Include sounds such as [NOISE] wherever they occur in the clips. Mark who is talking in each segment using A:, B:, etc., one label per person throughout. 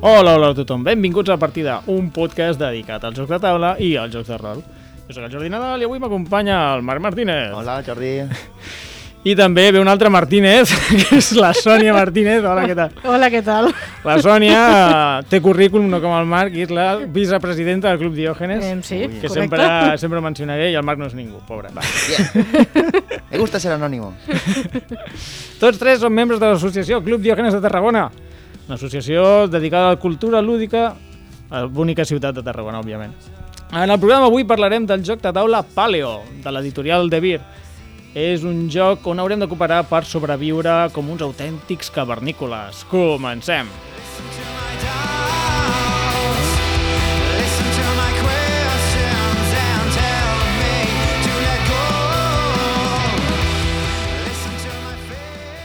A: Hola, hola a tothom. Benvinguts a Partida, un podcast dedicat als jocs de taula i als jocs de rol. Jo sóc el Jordi Nadal i avui m'acompanya el Marc Martínez.
B: Hola, Jordi.
A: I també ve un altre Martínez, [LAUGHS] que és la Sònia Martínez. Hola, què tal?
C: Hola, què tal?
A: La Sònia eh, té currículum, no com el Marc, i és la vicepresidenta del Club Diògenes,
C: Em, sí,
A: que
C: correcte.
A: sempre, sempre mencionaré, i el Marc no és ningú, pobre. Va.
B: Me gusta ser anónimo.
A: Tots tres són membres de l'associació Club Diògenes de Tarragona, una associació dedicada a la cultura lúdica a la bonica ciutat de Tarragona, òbviament. En el programa avui parlarem del joc de taula Paleo, de l'editorial De Vir. És un joc on haurem de cooperar per sobreviure com uns autèntics cavernícoles. Comencem!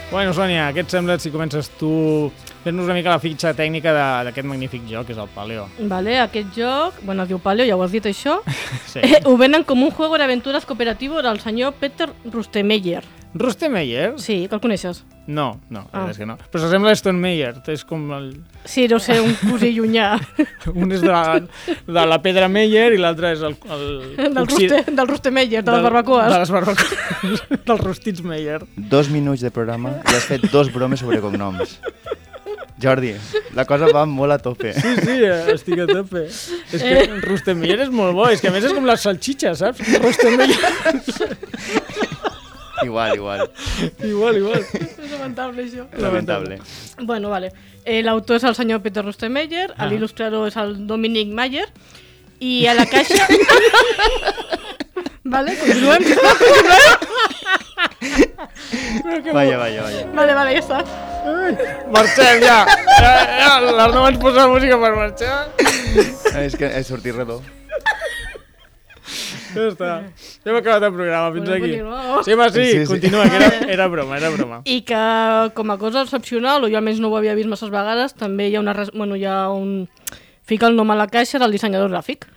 A: Bueno, Sònia, què et sembla si comences tu fent-nos una mica la fitxa tècnica de- d'aquest magnífic joc, que és el Paleo?
C: Vale, aquest joc, bueno, es diu Paleo, ja ho has dit això,
A: Sí.
C: eh, ho venen com un juego d'aventuras cooperativo del senyor Peter Rustemeyer.
A: Rustemeyer?
C: Sí, que el coneixes?
A: No, no, la
C: Ah.
A: veritat és que no. Però s'assembla a Stonemeyer, és com el,
C: Sí, no sé, un cosí [LAUGHS] llunyà
A: [LAUGHS] Un és de, de la Pedra Meyer i l'altre és el... el
C: del,
A: oxi-
C: Ruste, del Rustemeyer, de
A: del-
C: les barbacoes.
A: De les barbacoes, [LAUGHS] dels rostits Meyer.
B: Dos minuts de programa i has fet dos bromes sobre cognoms. Jordi, la cosa va molt a tope.
A: Sí, sí, eh, estic a tope. És que eh. Rustemeyer és molt bo, és que a més és com les salxitxes, saps? Rustemeyer,
B: Igual, igual.
A: igual, igual.
C: [LAUGHS] És lamentable, això.
B: Lamentable.
C: Bueno, vale. Eh, L'autor és el senyor Peter Rustemeyer,
A: Ah.
C: ah. l'il·lustrador és el Dominic Mayer, i a la
A: [LAUGHS]
C: caixa... [LAUGHS] vale, continuem.
B: Vaja, vaja, vaja.
C: Vale, vale, ja està.
A: Marxem, ja. ja, ja L'Arnau ens posa la música per marxar.
B: És que he sortit redó.
A: Ja està. Ja hem acabat el programa, fins
C: Bueno,
A: aquí.
C: continuem.
A: Sí, home, sí,
B: Sí,
A: sí,
B: sí.
A: continua, que era, era broma, era broma.
C: I que com a cosa excepcional, o jo almenys no ho havia vist masses vegades, també hi ha, una, res- bueno, hi ha un... Fica el nom a la caixa del dissenyador gràfic.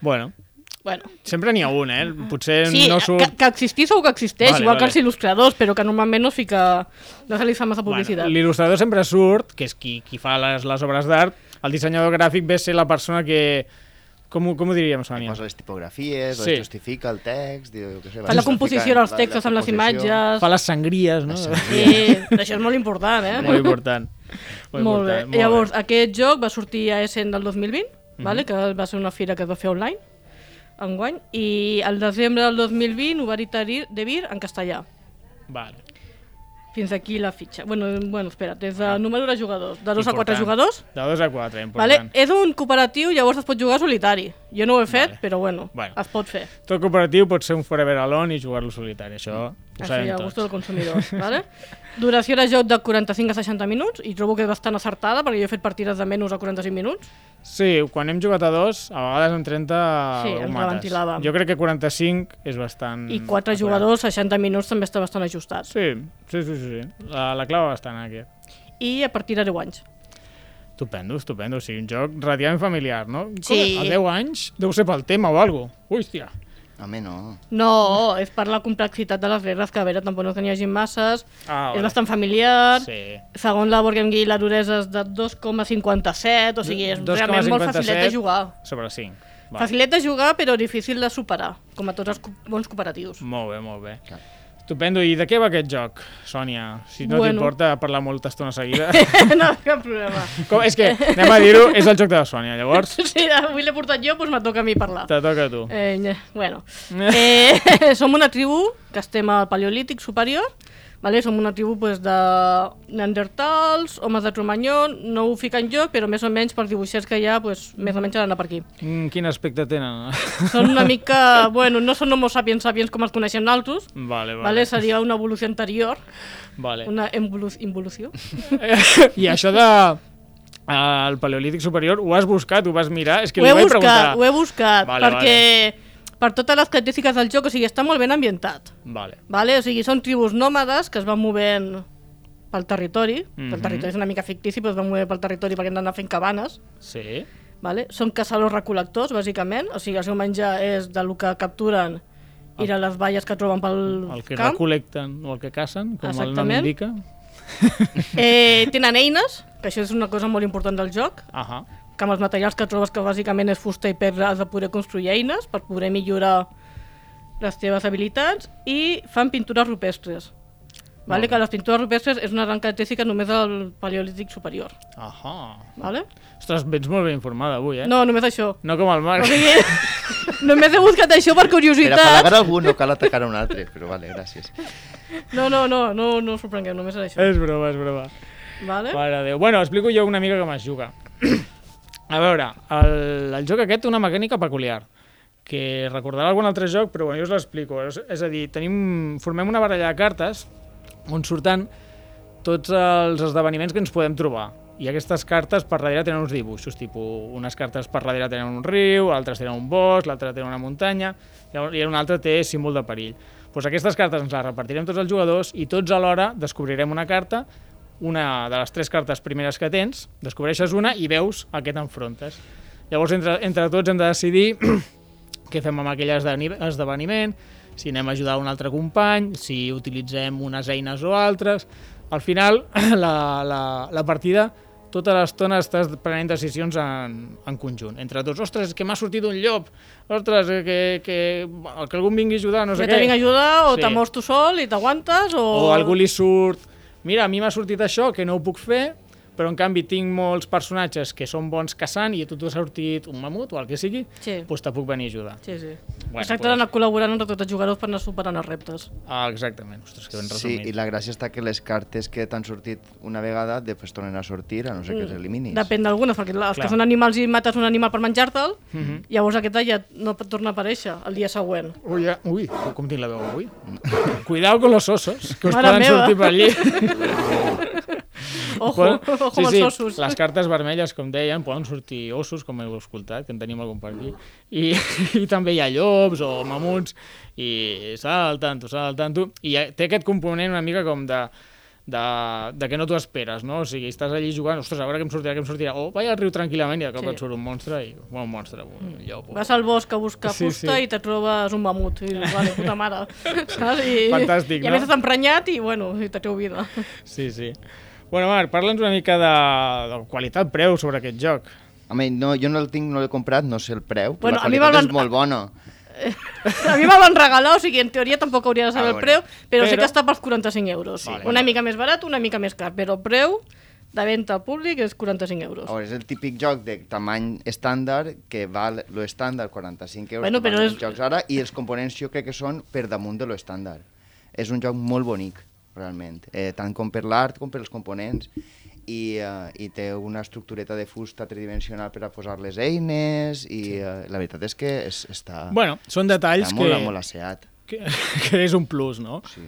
A: Bueno,
C: Bueno,
A: sempre n'hi ha un, eh? Potser
C: sí,
A: no
C: que,
A: surt...
C: que existís o que
A: Vale,
C: existeix, vale, igual
A: vale.
C: que els il·lustradors, però que normalment no es fica... no se li fa massa publicitat.
A: Bueno, L'il·lustrador sempre surt, que és qui, qui fa les, les obres d'art. El dissenyador gràfic ve a ser la persona que... Com, ho- com ho diríem, Sònia?
B: Posa les tipografies,
A: Sí.
B: sí. justifica el text... Diu, que sé,
C: Fa la composició dels textos amb les imatges...
A: Fa les sangries, no? [LAUGHS]
C: Sí, això és molt important, eh?
A: Molt important. Molt, important,
C: Molt bé. Molt Llavors, bé. aquest joc va sortir a Essen del 2020,
A: Mhm.
C: mm -hmm. vale? que va ser una fira que es va fer online, enguany, i al desembre del 2020 ho va editar Dir- de Vir en castellà.
A: Vale.
C: Fins aquí la fitxa. Bueno, eh, bueno espera, des de número de jugadors, de 2 a 4
A: Ah. Important.
C: jugadors.
A: De 2 a 4,
C: Vale?
A: important.
C: És un cooperatiu, llavors es pot jugar solitari. Jo no ho he fet,
A: Vale.
C: vale. però bueno,
A: Bueno.
C: bueno, es pot fer.
A: Tot cooperatiu pot ser un forever alone i jugar-lo solitari, això ho
C: Així,
A: sabem
C: a gusto del
A: tots. [LAUGHS]
C: consumidor. Vale? Duració de joc de 45 a 60 minuts, i trobo que és bastant acertada, perquè jo he fet partides de menys a 45 minuts.
A: Sí, quan hem jugat a dos, a vegades en 30
C: Sí,
A: ho
C: ens
A: mates.
C: reventilàvem.
A: Jo crec que 45 és bastant...
C: I quatre
A: acurat.
C: jugadors, 60 minuts, també està bastant ajustat.
A: Sí, sí, sí, sí. sí. La, la clava bastant aquí.
C: I a partir de 10 anys.
A: Estupendo, estupendo. O sigui, un joc relativament familiar, no? Com
C: Sí.
A: A 10 anys deu ser pel tema o alguna cosa. Ui, hòstia.
B: Home, no.
C: No, és per la complexitat de les regles, que a veure, tampoc no que n'hi hagi masses,
A: Ah,
C: és bastant familiar, sí.
A: Sí.
C: segons la Board Game Geek la duresa és de 2,57, o sigui, és realment molt
A: 2,57
C: facilet de jugar.
A: Sobre 5.
C: Vale. Facilet de jugar, però difícil de superar, com a tots els co- bons cooperatius.
A: Molt bé, molt bé.
B: Clar.
A: Estupendo. I de què va aquest joc, Sònia? Si no
C: Bueno.
A: t'importa parlar molta estona
C: [LAUGHS]
A: seguida.
C: [LAUGHS] no, cap problema.
A: Com, és que, anem a dir-ho, és el joc de la Sònia, llavors
C: Sí, avui l'he portat jo, doncs me toca a mi parlar.
A: te toca a tu.
C: Eh, nya- bueno, eh, [LAUGHS] som una tribu que estem al Paleolític superior, vale? som una tribu pues, de neandertals, homes de Tromanyó, no ho fiquen jo, però més o menys pels dibuixers que hi ha, pues, més o menys han d'anar per aquí.
A: Mm, quin aspecte tenen?
C: Són una mica, bueno, no són homo sapiens sapiens com els coneixem nosaltres,
A: [LAUGHS] vale, vale.
C: vale? seria una evolució anterior,
A: vale.
C: una involu- involució.
A: I això de al Paleolític Superior, ho has buscat, ho vas mirar, és que
C: Ho
A: li
C: he
A: vaig
C: buscat,
A: preguntar.
C: ho he buscat,
A: Vale,
C: perquè per totes les característiques del joc, o sigui, està molt ben ambientat.
A: Vale.
C: Vale? O sigui, són tribus nòmades que es van movent pel territori, mm -hmm.
A: Mhm.
C: el territori és una mica fictici, però es van mover pel territori perquè han d'anar fent cabanes.
A: Sí.
C: Vale? Són caçadors-recol·lectors, bàsicament, o sigui, el seu menjar és del que capturen i de les valles que troben pel
A: El Ah. que
C: camp.
A: recol·lecten o el que cacen, com el nom
C: Exactament.
A: indica.
C: Eh, tenen eines, que això és una cosa molt important del joc,
A: Ahà.
C: que amb els materials que trobes, que bàsicament és fusta i pedra, has de poder construir eines per poder millorar les teves habilitats, i fan pintures rupestres. Vale? Que les pintures rupestres és una gran característica només del paleolític superior.
A: Ahà.
C: Vale?
A: Ostres, vens molt ben informada avui, eh?
C: No, només això.
A: No com el
C: O
A: Marc.
C: sigui, [LAUGHS] només he buscat això
B: Per
C: per
B: apel·lar
C: curiositat.
B: a algú no cal atacar a un altre, però vale, gràcies.
C: No, no, no, no, no us sorprengueu, només era això.
A: [LAUGHS] És broma, és broma.
C: Eh? Vale?
A: Mare de Déu. Bueno, explico jo una mica com es juga. A veure, el, el joc aquest té una mecànica peculiar, que recordarà algun altre joc, però bueno, jo us l'explico. És, és a dir, tenim, formem una baralla de cartes on surten tots els esdeveniments que ens podem trobar. I aquestes cartes per darrere tenen uns dibuixos, tipus unes cartes per darrere tenen un riu, altres tenen un bosc, l'altra tenen una muntanya, llavors- i una altra té símbol de perill. Doncs aquestes cartes ens les repartirem tots els jugadors i tots alhora descobrirem una carta, una de les tres cartes primeres que tens, descobreixes una i veus a què t'enfrontes. Llavors, entre, entre tots hem de decidir [CLEARS THROAT] què fem amb aquell esdeveni- esdeveniment, si anem a ajudar un altre company, si utilitzem unes eines o altres... Al final, [CLEARS THROAT] la, la, la partida, tota l'estona estàs prenent decisions en, en conjunt. Entre tots, ostres, que m'ha sortit un llop, ostres, eh, que, que, que algú em vingui a ajudar, no
C: No
A: sé
C: ja te vinc a
A: què.
C: ajudar, o
A: Sí.
C: sí. mors tu sol i t'aguantes, o...
A: O algú li surt, mira, a mi m'ha sortit això, que no ho puc fer, però en canvi tinc molts personatges que són bons caçant i a tu t'ha sortit un mamut o el que sigui,
C: Sí.
A: doncs te puc venir a ajudar.
C: Sí, sí.
A: Bueno,
C: Bueno, es tracta
A: pues-
C: d'anar col·laborant entre tots els jugadors per anar superant els reptes.
A: Ah, exactament. Ostres, que ben
B: Sí,
A: resumit.
B: i la gràcia està que les cartes que t'han sortit una vegada després tornen a sortir, a no
C: Mm.
B: ser que les eliminis.
C: Depèn d'algunes, perquè els
A: Clar. Mhm.
C: que són animals i mates un animal per menjar-te'l, llavors aquesta ja no pot tornar a aparèixer el dia següent.
A: Ui, ja- ui, com tinc la veu avui? Cuidao con los osos, que us
C: Mare
A: poden
C: meva.
A: sortir per allí.
C: [LAUGHS] Ojo,
A: Poden-
C: [LAUGHS] ojo amb els ossos.
A: Les cartes vermelles, com deien, poden sortir ossos, com heu escoltat, que en tenim algun per aquí. I, [LAUGHS] i també hi ha llops o mamuts, i s'ha del tanto, s'ha del tanto. I hi ha- té aquest component una mica com de de, de que no t'ho esperes, no? O sigui, estàs allí jugant, ostres, a veure què em sortirà, què em sortirà. O vaig al riu tranquil·lament i de cop
C: Sí. Mm.
A: et surt un monstre i... Bueno, un monstre, un llop. o-
C: Vas al bosc a buscar
A: Sí,
C: fusta
A: sí.
C: i te trobes un mamut. I dius, vale,
A: [LAUGHS]
C: puta mare. Saps? I,
A: Fantàstic,
C: I a més
A: no?
C: estàs emprenyat i, bueno, i te treu vida. [LAUGHS]
A: Sí, sí. Bueno, Marc, parla'ns una mica de, de qualitat-preu sobre aquest joc.
B: Home, no, jo no el tinc, no l'he comprat, no sé el preu, però
C: Bueno,
B: la
C: a mi
B: qualitat
C: me'l van-
B: és molt bona.
C: A mi me'l van regalar, o sigui, en teoria tampoc hauria de
B: Ah,
C: saber el
B: bueno.
C: preu, però, sé
A: Però-
C: que està pels 45 euros.
B: Vale.
C: una mica més barat, una mica més car, però el preu de venda al públic és 45 euros.
B: A veure, és el típic joc de tamany estàndard que val lo estàndard 45 euros
C: Bueno,
B: que
C: però
B: valen
C: és-
B: els jocs ara i els components jo crec que són per damunt de lo estàndard. És un joc molt bonic, realment, eh, tant com per l'art com per els components i, eh, i té una estructureta de fusta tridimensional per a posar les eines i eh, la veritat és que és, està,
A: Bueno, són detalls
B: Ah. està
A: que,
B: molt, molt asseat.
A: que, [LAUGHS] que és un plus, no?
B: Sí.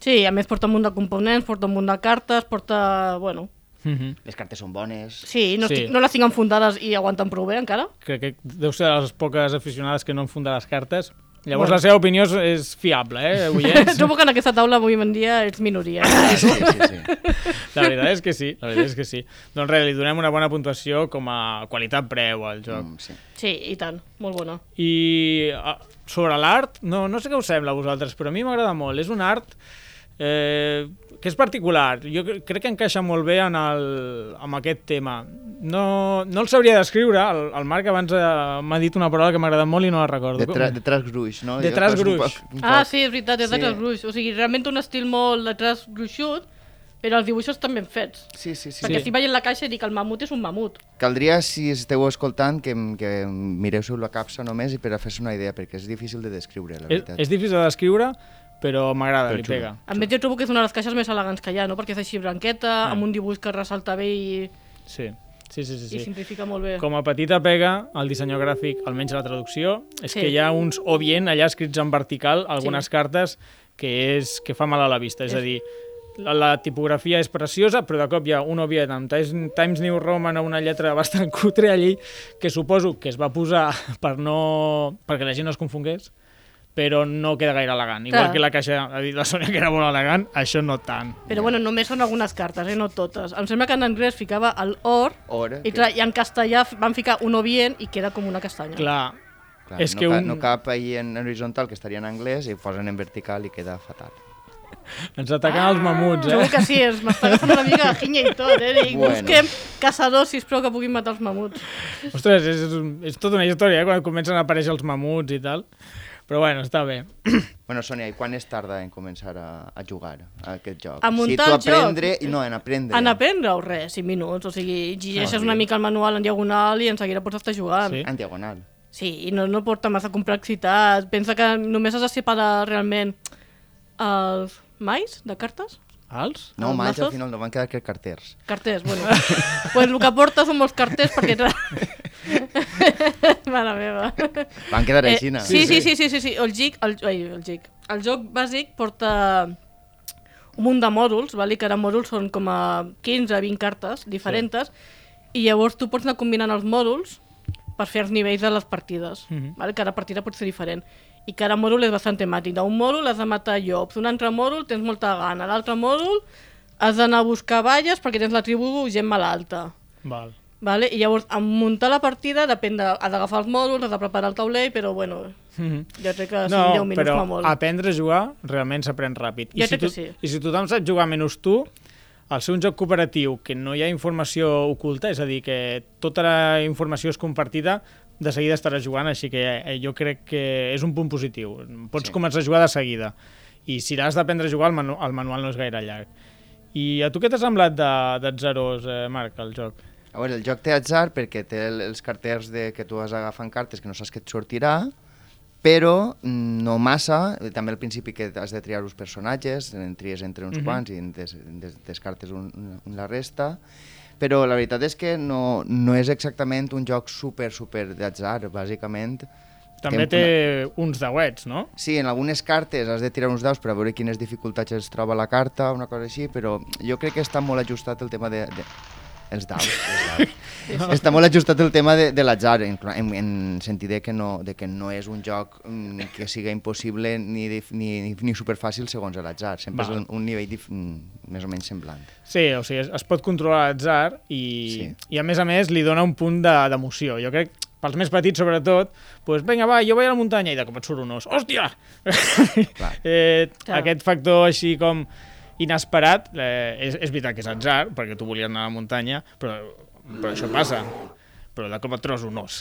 C: Sí, a més porta un munt de components, porta un munt de cartes, porta... Bueno,
A: Mm
C: Mhm.
A: -hmm.
B: Les cartes són bones.
C: sí, no,
A: Sí.
C: Estic, no les tinc enfundades i aguanten prou bé encara.
A: Crec que deu ser de les poques aficionades que no enfunda les cartes. Llavors bueno. la seva opinió és, és fiable, eh,
C: [LAUGHS]
A: oients?
C: Trobo que en aquesta taula avui en dia ets minoria. [COUGHS]
B: Ah, sí, sí, sí.
C: [LAUGHS]
A: La veritat és que sí, la veritat és que sí. Doncs res, li donem una bona puntuació com a qualitat-preu al joc. Mm.
B: Mm, sí.
C: Sí, i tant, molt bona.
A: I ah, sobre l'art, no, no sé què us sembla a vosaltres, però a mi m'agrada molt. És un art eh, que és particular. Jo cre- crec que encaixa molt bé en, el, en aquest tema. No, no el sabria descriure. El, el Marc abans eh, m'ha dit una paraula que m'ha agradat molt i no la recordo.
B: De, tra de traç gruix, no?
A: De
B: Jo
A: traç
B: faig un
A: gruix.
B: poc- un
C: Ah,
B: poc-
C: sí, és veritat, és de
B: Sí.
C: traç gruix. O sigui, realment un estil molt de traç gruixut, però els dibuixos també ben fets.
B: Sí, sí, sí.
A: Sí.
C: Perquè estic veient la caixa i dic el mamut és un mamut.
B: Caldria, si esteu escoltant, que, que mireu-se la capsa només i per a fer-se una idea, perquè és difícil de descriure, la
A: és,
B: veritat.
A: és difícil de descriure, però m'agrada,
B: Però
A: li
B: xulo.
A: pega.
C: A més, jo trobo que és una de les caixes més elegants que hi ha, no? Perquè és així
A: Mm.
C: branqueta, amb un dibuix que ressalta bé i,
A: Sí, sí, sí. sí,
C: i
A: sí.
C: simplifica molt bé.
A: Com a petita pega, el disseny gràfic, almenys la traducció, és
C: Sí.
A: que hi ha uns o bien allà escrits en vertical algunes
C: Sí.
A: cartes que, és, que fa mal a la vista. És, és a dir, la, la tipografia és preciosa, però de cop hi ha una obvietat amb Times, Times New Roman a una lletra [LAUGHS] bastant cutre allí, que suposo que es va posar per no, perquè la gent no es confongués, però no queda gaire elegant. Igual
C: Clar.
A: que la caixa ha dit la Sònia que era molt elegant, això no tant.
C: Però bueno, només són algunes cartes, eh? no totes. Em sembla que en anglès ficava el or,
B: Or,
C: i, clar, i en castellà f- van ficar un ovient i queda com una castanya.
A: Clar,
B: Clar,
A: és
B: no,
A: que
B: ca-
A: un-
B: no cap ahir en horitzontal, que estaria en anglès, i ho posen en vertical i queda fatal.
A: ens ataquen els mamuts,
C: Ah! Segur
A: eh?
C: que sí, ens m'està agafant una mica de ginya i tot, eh? Dic,
B: Bueno.
C: busquem caçadors, sisplau, que puguin matar els mamuts.
A: Ostres, és, és, un- és tota una història, eh? Quan comencen a aparèixer els mamuts i tal. Però bueno, està bé.
B: Bueno, Sònia, i quan es tarda en començar a, a jugar a aquest joc?
C: A muntar el
B: si tu aprendre... No, en aprendre.
C: En aprendre-ho, res, 5 minuts, o sigui, llegeixes
B: sí.
C: una mica el manual en diagonal i en seguida pots estar jugant.
A: Sí.
B: En diagonal.
C: Sí, i no, no porta massa complexitat. Pensa que només has de separar realment els mais de cartes?
A: Els?
B: No,
C: Els
B: maig,
C: maços?
B: al final no van quedar que carters.
C: Carters, bueno.
A: [LAUGHS]
C: pues el que porta són molts carters perquè... [LAUGHS] Mare meva.
B: Van quedar
C: Eh,
B: així, no?
C: sí, sí, sí, sí, sí, sí. El GIC, el, ai, el GIC. El joc bàsic porta un munt de mòduls, vale? cada mòdul són com a 15-20 cartes diferents, i llavors tu pots anar combinant els mòduls per fer els nivells de les partides.
A: Mhm.
C: vale? Cada partida pot ser diferent. I cada mòdul és bastant temàtic. D'un mòdul has de matar llops, un altre mòdul tens molta gana, l'altre mòdul has d'anar a buscar valles perquè tens la tribu gent malalta.
A: Val.
C: Vale? I llavors, en muntar la partida, depèn de... Has d'agafar els mòduls, has de preparar el taulell, però bueno,
A: Mhm.
C: jo crec que 5-10
A: No,
C: minuts
A: però
C: fa molt.
A: aprendre a jugar realment s'aprèn ràpid.
C: Jo
A: I si,
C: crec que
A: tu,
C: sí.
A: I si tothom sap jugar menys tu, al ser un joc cooperatiu que no hi ha informació oculta, és a dir, que tota la informació és compartida, de seguida estaràs jugant, així que eh, jo crec que és un punt positiu. Pots
B: Sí.
A: començar a jugar de seguida. I si l'has d'aprendre a jugar, el, manu el manual no és gaire llarg. I a tu què t'ha semblat de, de Zeros, eh, Marc, el joc?
B: A veure, el joc té atzar perquè té el- els carters de que tu vas agafant cartes que no saps que et sortirà, però mm, no massa, Eh, també al principi que has de triar uns personatges, en tries entre uns
A: Mhm.
B: quants i en des, en des, descartes un, un- un, la resta, però la veritat és que no, no és exactament un joc super, super d'atzar, bàsicament.
A: També
B: Tem-
A: té uns deuets, no?
B: Sí, en algunes cartes has de tirar uns daus per a veure quines dificultats es troba la carta, una cosa així, però jo crec que està molt ajustat el tema de... de... Els daus. Els daus. està molt ajustat el tema de, de l'atzar, en, en, en sentit de que, no, de que no és un joc mm, que siga impossible ni, dif- ni, ni, ni superfàcil segons l'atzar. Sempre
A: Val.
B: és un, un nivell dif, mm, més o menys semblant.
A: Sí, o sigui, es, es pot controlar l'atzar i, sí.
B: Sí.
A: i a més a més li dona un punt de- d'emoció. Jo crec pels més petits, sobretot, doncs vinga, va, jo vaig a la muntanya i de cop et surt un os. Hòstia! eh,
C: Clar.
A: aquest factor així com inesperat, eh, és, és veritat que és atzar, perquè tu volies anar a la muntanya, però, però això passa. Però de cop et trobes un os.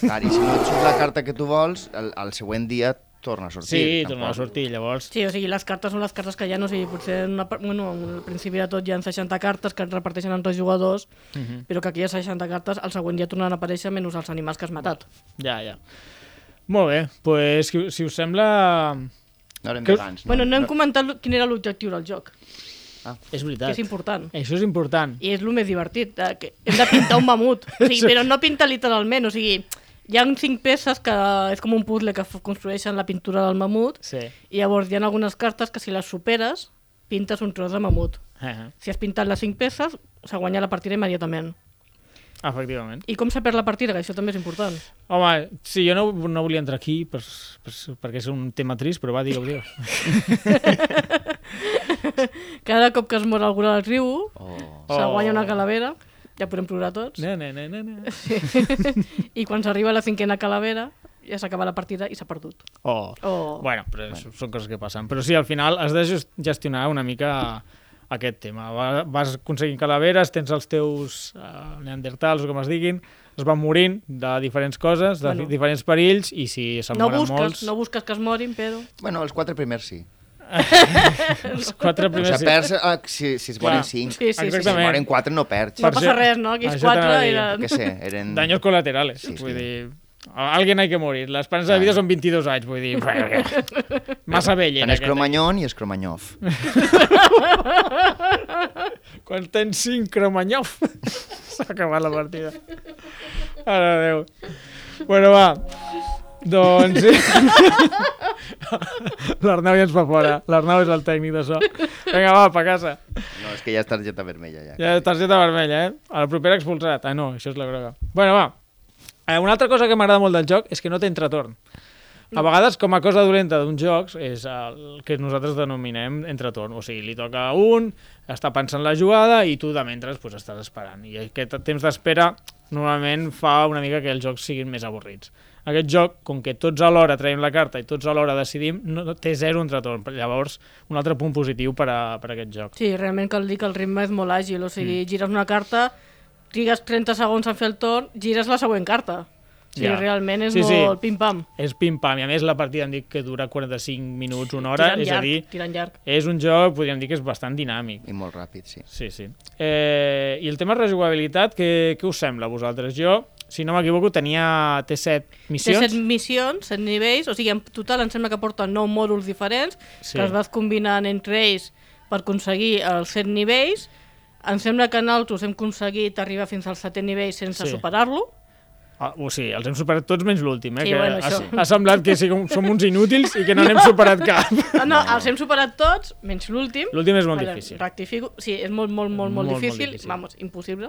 B: Clar, i si no et surt la carta que tu vols, el, el següent dia torna a sortir.
A: Sí,
B: tampoc.
A: torna a sortir, llavors...
C: Sí, o sigui, les cartes són les cartes que hi ha, no? o sigui, potser en una, par- bueno, al principi de tot hi ha 60 cartes que es reparteixen entre els jugadors,
A: Mhm.
C: però que aquelles 60 cartes al següent dia tornen a aparèixer menys els animals que has matat.
A: Ja, ja. Molt bé, doncs, pues, si, si us sembla...
B: No érem
A: Que-
B: vegans, no?
C: Bueno, no hem comentat lo- quin era l'objectiu del joc,
A: És
C: que
A: veritat.
C: és important.
A: Això és important.
C: I és el més divertit, eh, que hem de pintar un mamut, o
A: [LAUGHS]
C: sigui, però no pintar literalment, o sigui, hi ha cinc peces que és com un puzzle que f- construeixen la pintura del mamut,
A: Sí. [LAUGHS]
C: i llavors hi ha algunes cartes que si les superes, pintes un tros de mamut.
A: Eh,
C: Si has pintat les cinc peces, s'ha guanyat la partida immediatament.
A: Efectivament.
C: I com s'ha perd la partida, que això també és important.
A: Home, sí, jo no, no volia entrar aquí per, per, perquè és un tema trist, però va, digue'l, digue'l.
C: Cada cop que es mor algú del riu,
B: Oh.
C: se
A: Oh.
C: guanya una calavera, ja podem plorar tots,
A: No, no, no, no, no.
C: i quan s'arriba a la cinquena calavera, ja s'acaba la partida i s'ha perdut.
A: Oh.
C: Oh.
A: Bueno, però bueno. són coses que passen. Però sí, al final has de just- gestionar una mica aquest tema. Va- Vas aconseguint calaveres, tens els teus uh, neandertals, o com es diguin, es van morint de diferents coses, de
C: Bueno.
A: bueno. diferents perills, i si se'n
C: No
A: moren
C: busques,
A: molts...
C: no busques que es morin, però...
B: Bueno, els quatre primers sí.
A: Els quatre
B: O sigui,
A: primers...
B: perds, eh, si, si es
A: Clar.
B: volen cinc.
C: Sí, sí, sí.
B: Si
A: Exactament.
B: moren quatre no perds.
C: No
A: Per
C: passa
A: això-
C: res, no? Aquells
A: això t'anava a
C: quatre
A: dir,
C: eren...
B: Que sé,
A: [LAUGHS]
B: eren...
A: Daños colaterales.
B: Mm. Sí,
A: vull
B: sí.
A: dir, a- alguien hay que morir. L'esperança de vida són 22 anys, vull dir...
B: [LAUGHS]
A: Massa vell.
B: Tant
A: era
B: és
A: aquest. eh.
B: Cromanyón i és
A: [LAUGHS]
B: Cromanyov.
A: Quan tens 5 cromanyof, [LAUGHS] s'ha acabat la partida. Ara, adeu. Bueno, va. Doncs... [LAUGHS] L'Arnau ja ens fa fora. L'Arnau és el tècnic de so. Vinga, va, pa casa.
B: No, és que ja és targeta vermella, ja.
A: Ja, targeta vermella, eh? A la propera expulsat. Ah, no, això és la groga. Bueno, va. Eh, Una altra cosa que m'agrada molt del joc és que no té entretorn. A vegades, com a cosa dolenta d'uns jocs, és el que nosaltres denominem entretorn. O sigui, li toca a un, està pensant la jugada i tu de mentre pues, estàs esperant. I aquest temps d'espera normalment fa una mica que els jocs siguin més avorrits. Aquest joc, com que tots alhora traiem la carta i tots alhora decidim, no, no- té zero entretorn. Llavors, un altre punt positiu per a, per a aquest joc.
C: Sí, realment cal dir que el ritme és molt àgil, o sigui,
A: Mm.
C: gires una carta, trigues 30 segons a fer el torn, gires la següent carta. O sigui,
A: Ja.
C: ja. realment és
A: Sí,
C: sí,
A: sí.
C: molt pim-pam.
A: És pim-pam, i a més la partida hem dit que dura 45 minuts, una hora,
C: Tirant
A: és
C: llarg,
A: a dir,
C: Tirant llarg.
A: és un joc, podríem dir que és bastant dinàmic.
B: I molt ràpid, sí.
A: Sí, sí. Eh, I el tema de rejugabilitat, què, què us sembla a vosaltres? Jo, si no m'equivoco, tenia T7
C: Té
A: missions.
C: set missions, set nivells, o sigui, en total em sembla que porten nou mòduls diferents,
A: Sí.
C: sí. que es vas combinant entre ells per aconseguir els set nivells. Em sembla que nosaltres hem aconseguit arribar fins al setè nivell sense
A: Sí.
C: sí. superar-lo.
A: Ah, o sigui, els hem superat tots menys l'últim, eh?
C: Sí,
A: que
C: bueno,
A: ha,
C: això.
A: ha semblat que sí, com- som uns inútils i que no n'hem superat
C: [LAUGHS]
A: cap.
C: No, no, els hem superat tots, menys l'últim.
A: L'últim és molt
C: Vale,
A: difícil.
C: Rectifico. Sí, és molt, molt, molt,
A: Molt,
C: molt,
A: molt
C: difícil.
A: difícil.
C: Vamos, impossible,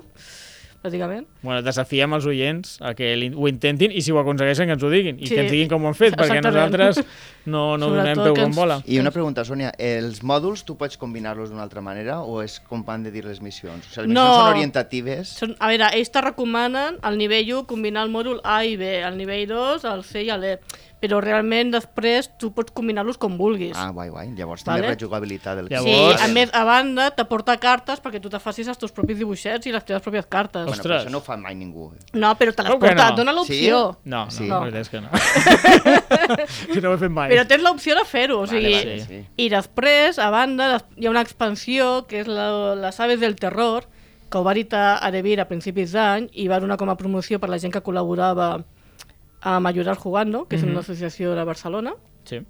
C: pràcticament.
A: Bueno, desafiem els oients a que li- ho intentin i si ho aconsegueixen que ens ho diguin i
C: Sí.
A: que ens diguin com ho han fet, perquè
C: Exactament.
A: nosaltres no, no
C: Sobretot
A: donem peu
C: que
A: com
C: ens-
A: bola.
B: I una pregunta, Sònia, els mòduls tu pots combinar-los d'una altra manera o és com van de dir les missions? O sigui, les
C: No.
B: missions són orientatives?
C: Són, a veure, ells te recomanen al nivell 1 combinar el mòdul A i B, al nivell 2 el C i l'E, però realment després tu pots combinar-los com vulguis.
B: Ah, guai, guai. Llavors
C: Vale.
B: també rejugabilitat. Del...
C: Sí,
A: Llavors-
C: a més, a banda, t'aporta cartes perquè tu te facis els teus propis dibuixets i les teves pròpies cartes.
B: Bueno, però
A: Ostres.
B: això no ho fa mai ningú. eh.
C: No, però te les
A: Com que
C: porta,
A: no?
C: et dona l'opció.
B: Sí?
A: No, no,
B: Sí.
A: la veritat és que no.
C: [LAUGHS]
A: que no ho he fet mai.
C: Però tens l'opció de fer-ho, o sigui...
B: vale,
A: sí.
B: sí.
C: I després, a banda, des- hi ha una expansió que és la, les Aves del Terror, que ho va editar Arevir a principis d'any i va donar com a promoció per la gent que col·laborava amb Ayudar Jugando, que és
A: Mhm.
C: una associació de Barcelona.
A: Sí.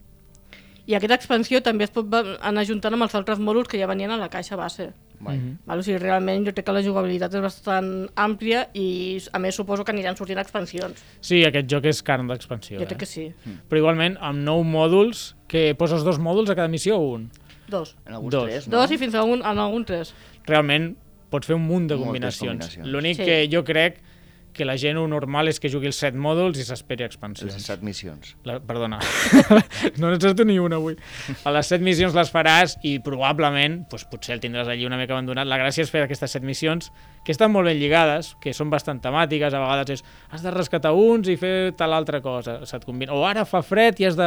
C: I aquesta expansió també es pot va- anar juntant amb els altres mòduls que ja venien a la caixa base.
B: Guai.
A: Mhm.
C: Val? O sigui, realment jo crec que la jugabilitat és bastant àmplia i a més suposo que aniran sortint expansions.
A: Sí, aquest joc és carn d'expansió.
C: Jo crec
A: Eh?
C: que sí.
A: Però igualment, amb nou mòduls, que poses dos mòduls a cada missió o un?
C: Dos.
B: En alguns
A: Dos.
B: tres, no?
C: Dos i fins a un, en algun tres.
A: Realment, pots fer un munt de
B: Moltes
A: combinacions.
B: combinacions.
A: L'únic
C: Sí.
A: que jo crec que la gent ho normal és que jugui els set mòduls i s'esperi expansions.
B: Les set missions.
A: La, perdona, [LAUGHS] no n'encerto ni una avui. A les set missions les faràs i probablement, doncs, potser el tindràs allí una mica abandonat. La gràcia és fer aquestes set missions que estan molt ben lligades, que són bastant temàtiques, a vegades és has de rescatar uns i fer tal altra cosa, se't combina. O ara fa fred i has de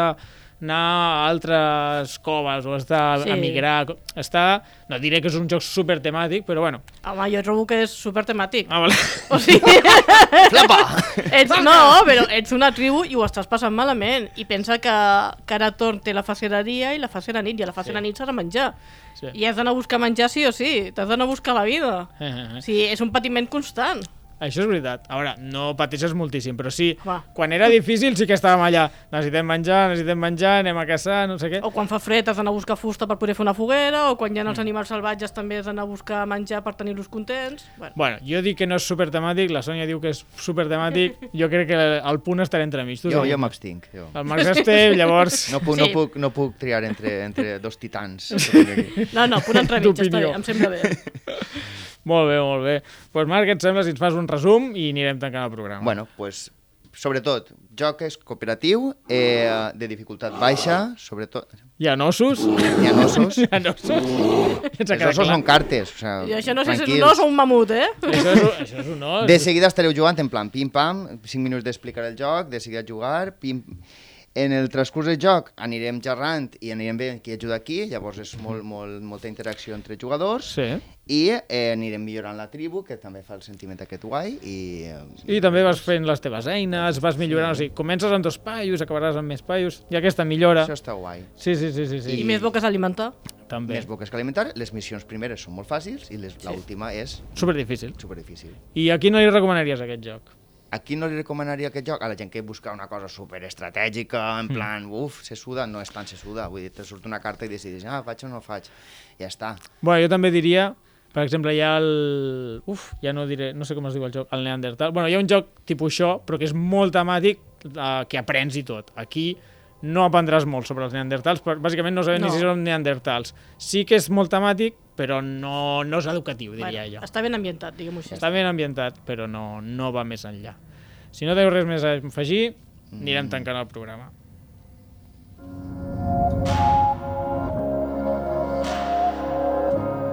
A: anar a altres coves o has
C: Sí.
A: d'emigrar. Sí. Està, no diré que és un joc super temàtic, però bueno.
C: Home, jo trobo que és super temàtic.
A: Ah, vale. [LAUGHS]
C: O sigui,
B: Flapa!
C: ets, no, però ets una tribu i ho estàs passant malament. I pensa que cada torn té la fase de dia i la fase de nit, i a la fase
A: Sí.
C: sí. de nit s'ha de menjar.
A: Sí.
C: I has d'anar a buscar menjar sí o sí, t'has d'anar a buscar la vida.
A: Eh,
C: O sigui, és un patiment constant.
A: Això és veritat. A veure, no pateixes moltíssim, però sí, Home.
C: Home.
A: quan era difícil sí que estàvem allà. Necessitem menjar, necessitem menjar, anem a caçar, no sé què.
C: O quan fa fred has d'anar a buscar fusta per poder fer una foguera, o quan hi ha
A: Mm.
C: els animals salvatges també has d'anar a buscar menjar per tenir-los contents. Bueno,
A: Bueno, jo dic que no és supertemàtic, la Sònia diu que és supertemàtic, jo crec que el punt estarà entremig. Tu
B: Jo,
A: què
B: jo
A: dius?
B: m'abstinc. Jo.
A: El Max Esteve, llavors...
B: No puc, no,
C: Sí.
B: puc, no puc triar entre, entre dos titans. Aquí.
C: no, no, punt entremig, està
A: D'opinió.
C: bé, em
A: [LAUGHS]
C: sembla bé.
A: Molt bé, molt bé. Doncs pues Marc, què et sembla si ens fas un resum i anirem tancant el programa?
B: Bueno, pues, sobretot, joc és cooperatiu, eh, de dificultat baixa, sobretot...
A: Hi ha nossos?
B: Hi ha
C: [LAUGHS]
B: ossos.
A: [LAUGHS] Hi ha nossos? Ja ens ha
B: Els
A: quedat
B: ossos
A: clar.
B: són cartes. O sigui,
C: I això no sé si és un
B: tranquils.
C: os o un mamut, eh?
A: Això és, un- això és un os.
B: De seguida estareu jugant en plan pim-pam, 5 minuts d'explicar el joc, de seguida jugar, pim... En el transcurs del joc anirem xerrant i anirem veient qui ajuda aquí, llavors és
C: Mm.
B: molt, molt, molta interacció entre jugadors
A: Sí.
B: i eh, anirem millorant la tribu, que també fa el sentiment aquest guai i... eh,
A: I també vas fent les teves eines, vas millorant, o sigui, comences amb dos paios, acabaràs amb més paios, i aquesta millora.
B: Això està guai.
A: Sí, sí, sí, sí, sí.
C: I més bo que s'alimenta.
A: També.
B: Més boques que alimentar, les missions primeres són molt fàcils i les- l'última és
A: Super difícil.
B: superdifícil.
A: I a qui no li recomanaries aquest joc?
B: A qui no li recomanaria aquest joc? A la gent que busca una cosa super estratègica,
A: Mm.
B: en plan, uf, se suda, no és tan se suda. Vull dir, te surt una carta i decidis, ah, faig o no faig. Ja està.
A: Bueno, jo també diria, per exemple, hi ha el... Uf, ja no diré, no sé com es diu el joc, el Neandertal. Bueno, hi ha un joc tipus això, però que és molt temàtic, eh, que aprens i tot. Aquí no aprendràs molt sobre els neandertals, però bàsicament no sabem
C: No.
A: ni si són neandertals. Sí que és molt temàtic, però no, no és educatiu, diria jo.
C: Està ben ambientat, diguem-ho així.
A: Està ben ambientat, però no, no va més enllà. Si no teniu res més a afegir, anirem tancant el programa. [LAUGHS]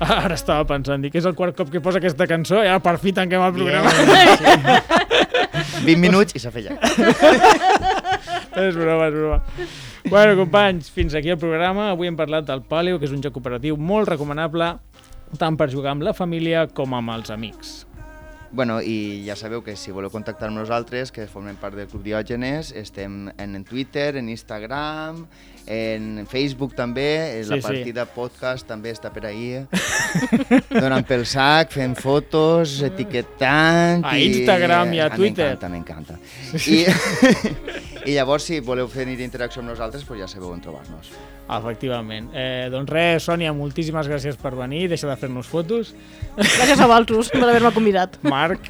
A: Ara estava pensant, dic, és el quart cop que posa aquesta cançó i ara per fi tanquem el programa. Yeah. [LAUGHS]
B: 20 minuts i s'ha fet ja.
A: és broma, és broma. Bueno, companys, fins aquí el programa. Avui hem parlat del Paleo, que és un joc cooperatiu molt recomanable tant per jugar amb la família com amb els amics.
B: Bueno, i ja sabeu que si voleu contactar amb nosaltres, que formem part del Club Diògenes, estem en en Twitter, en Instagram, en Facebook també, eh, la
A: Sí, sí.
B: partida podcast també està per ahí, [LAUGHS] donant pel sac, fent fotos, etiquetant...
A: A Instagram i a
B: Ah,
A: Twitter.
B: M'encanta, m'encanta. I, [LAUGHS] I llavors, si voleu fer interacció amb nosaltres, pues ja sabeu on
A: [LAUGHS]
B: trobar-nos.
A: Efectivament. Eh, doncs res, Sònia, moltíssimes gràcies per venir. Deixa de fer-nos fotos.
C: Gràcies a Valtros per haver-me convidat.
A: Marc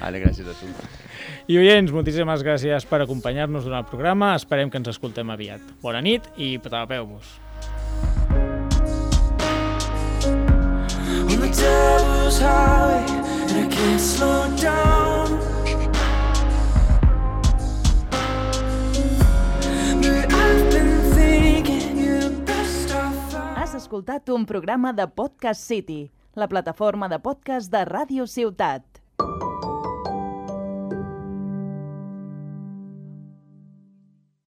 B: Vale, gràcies a tu.
A: i oients, moltíssimes gràcies per acompanyar-nos durant el programa. Esperem que ens escoltem aviat. Bona nit i tapeu-vos.
D: on the devil's highway, and I can't slow down. But I've been thinking you're the best I've found.
E: Has escoltat un programa de Podcast City, la plataforma de podcast de Ràdio Ciutat.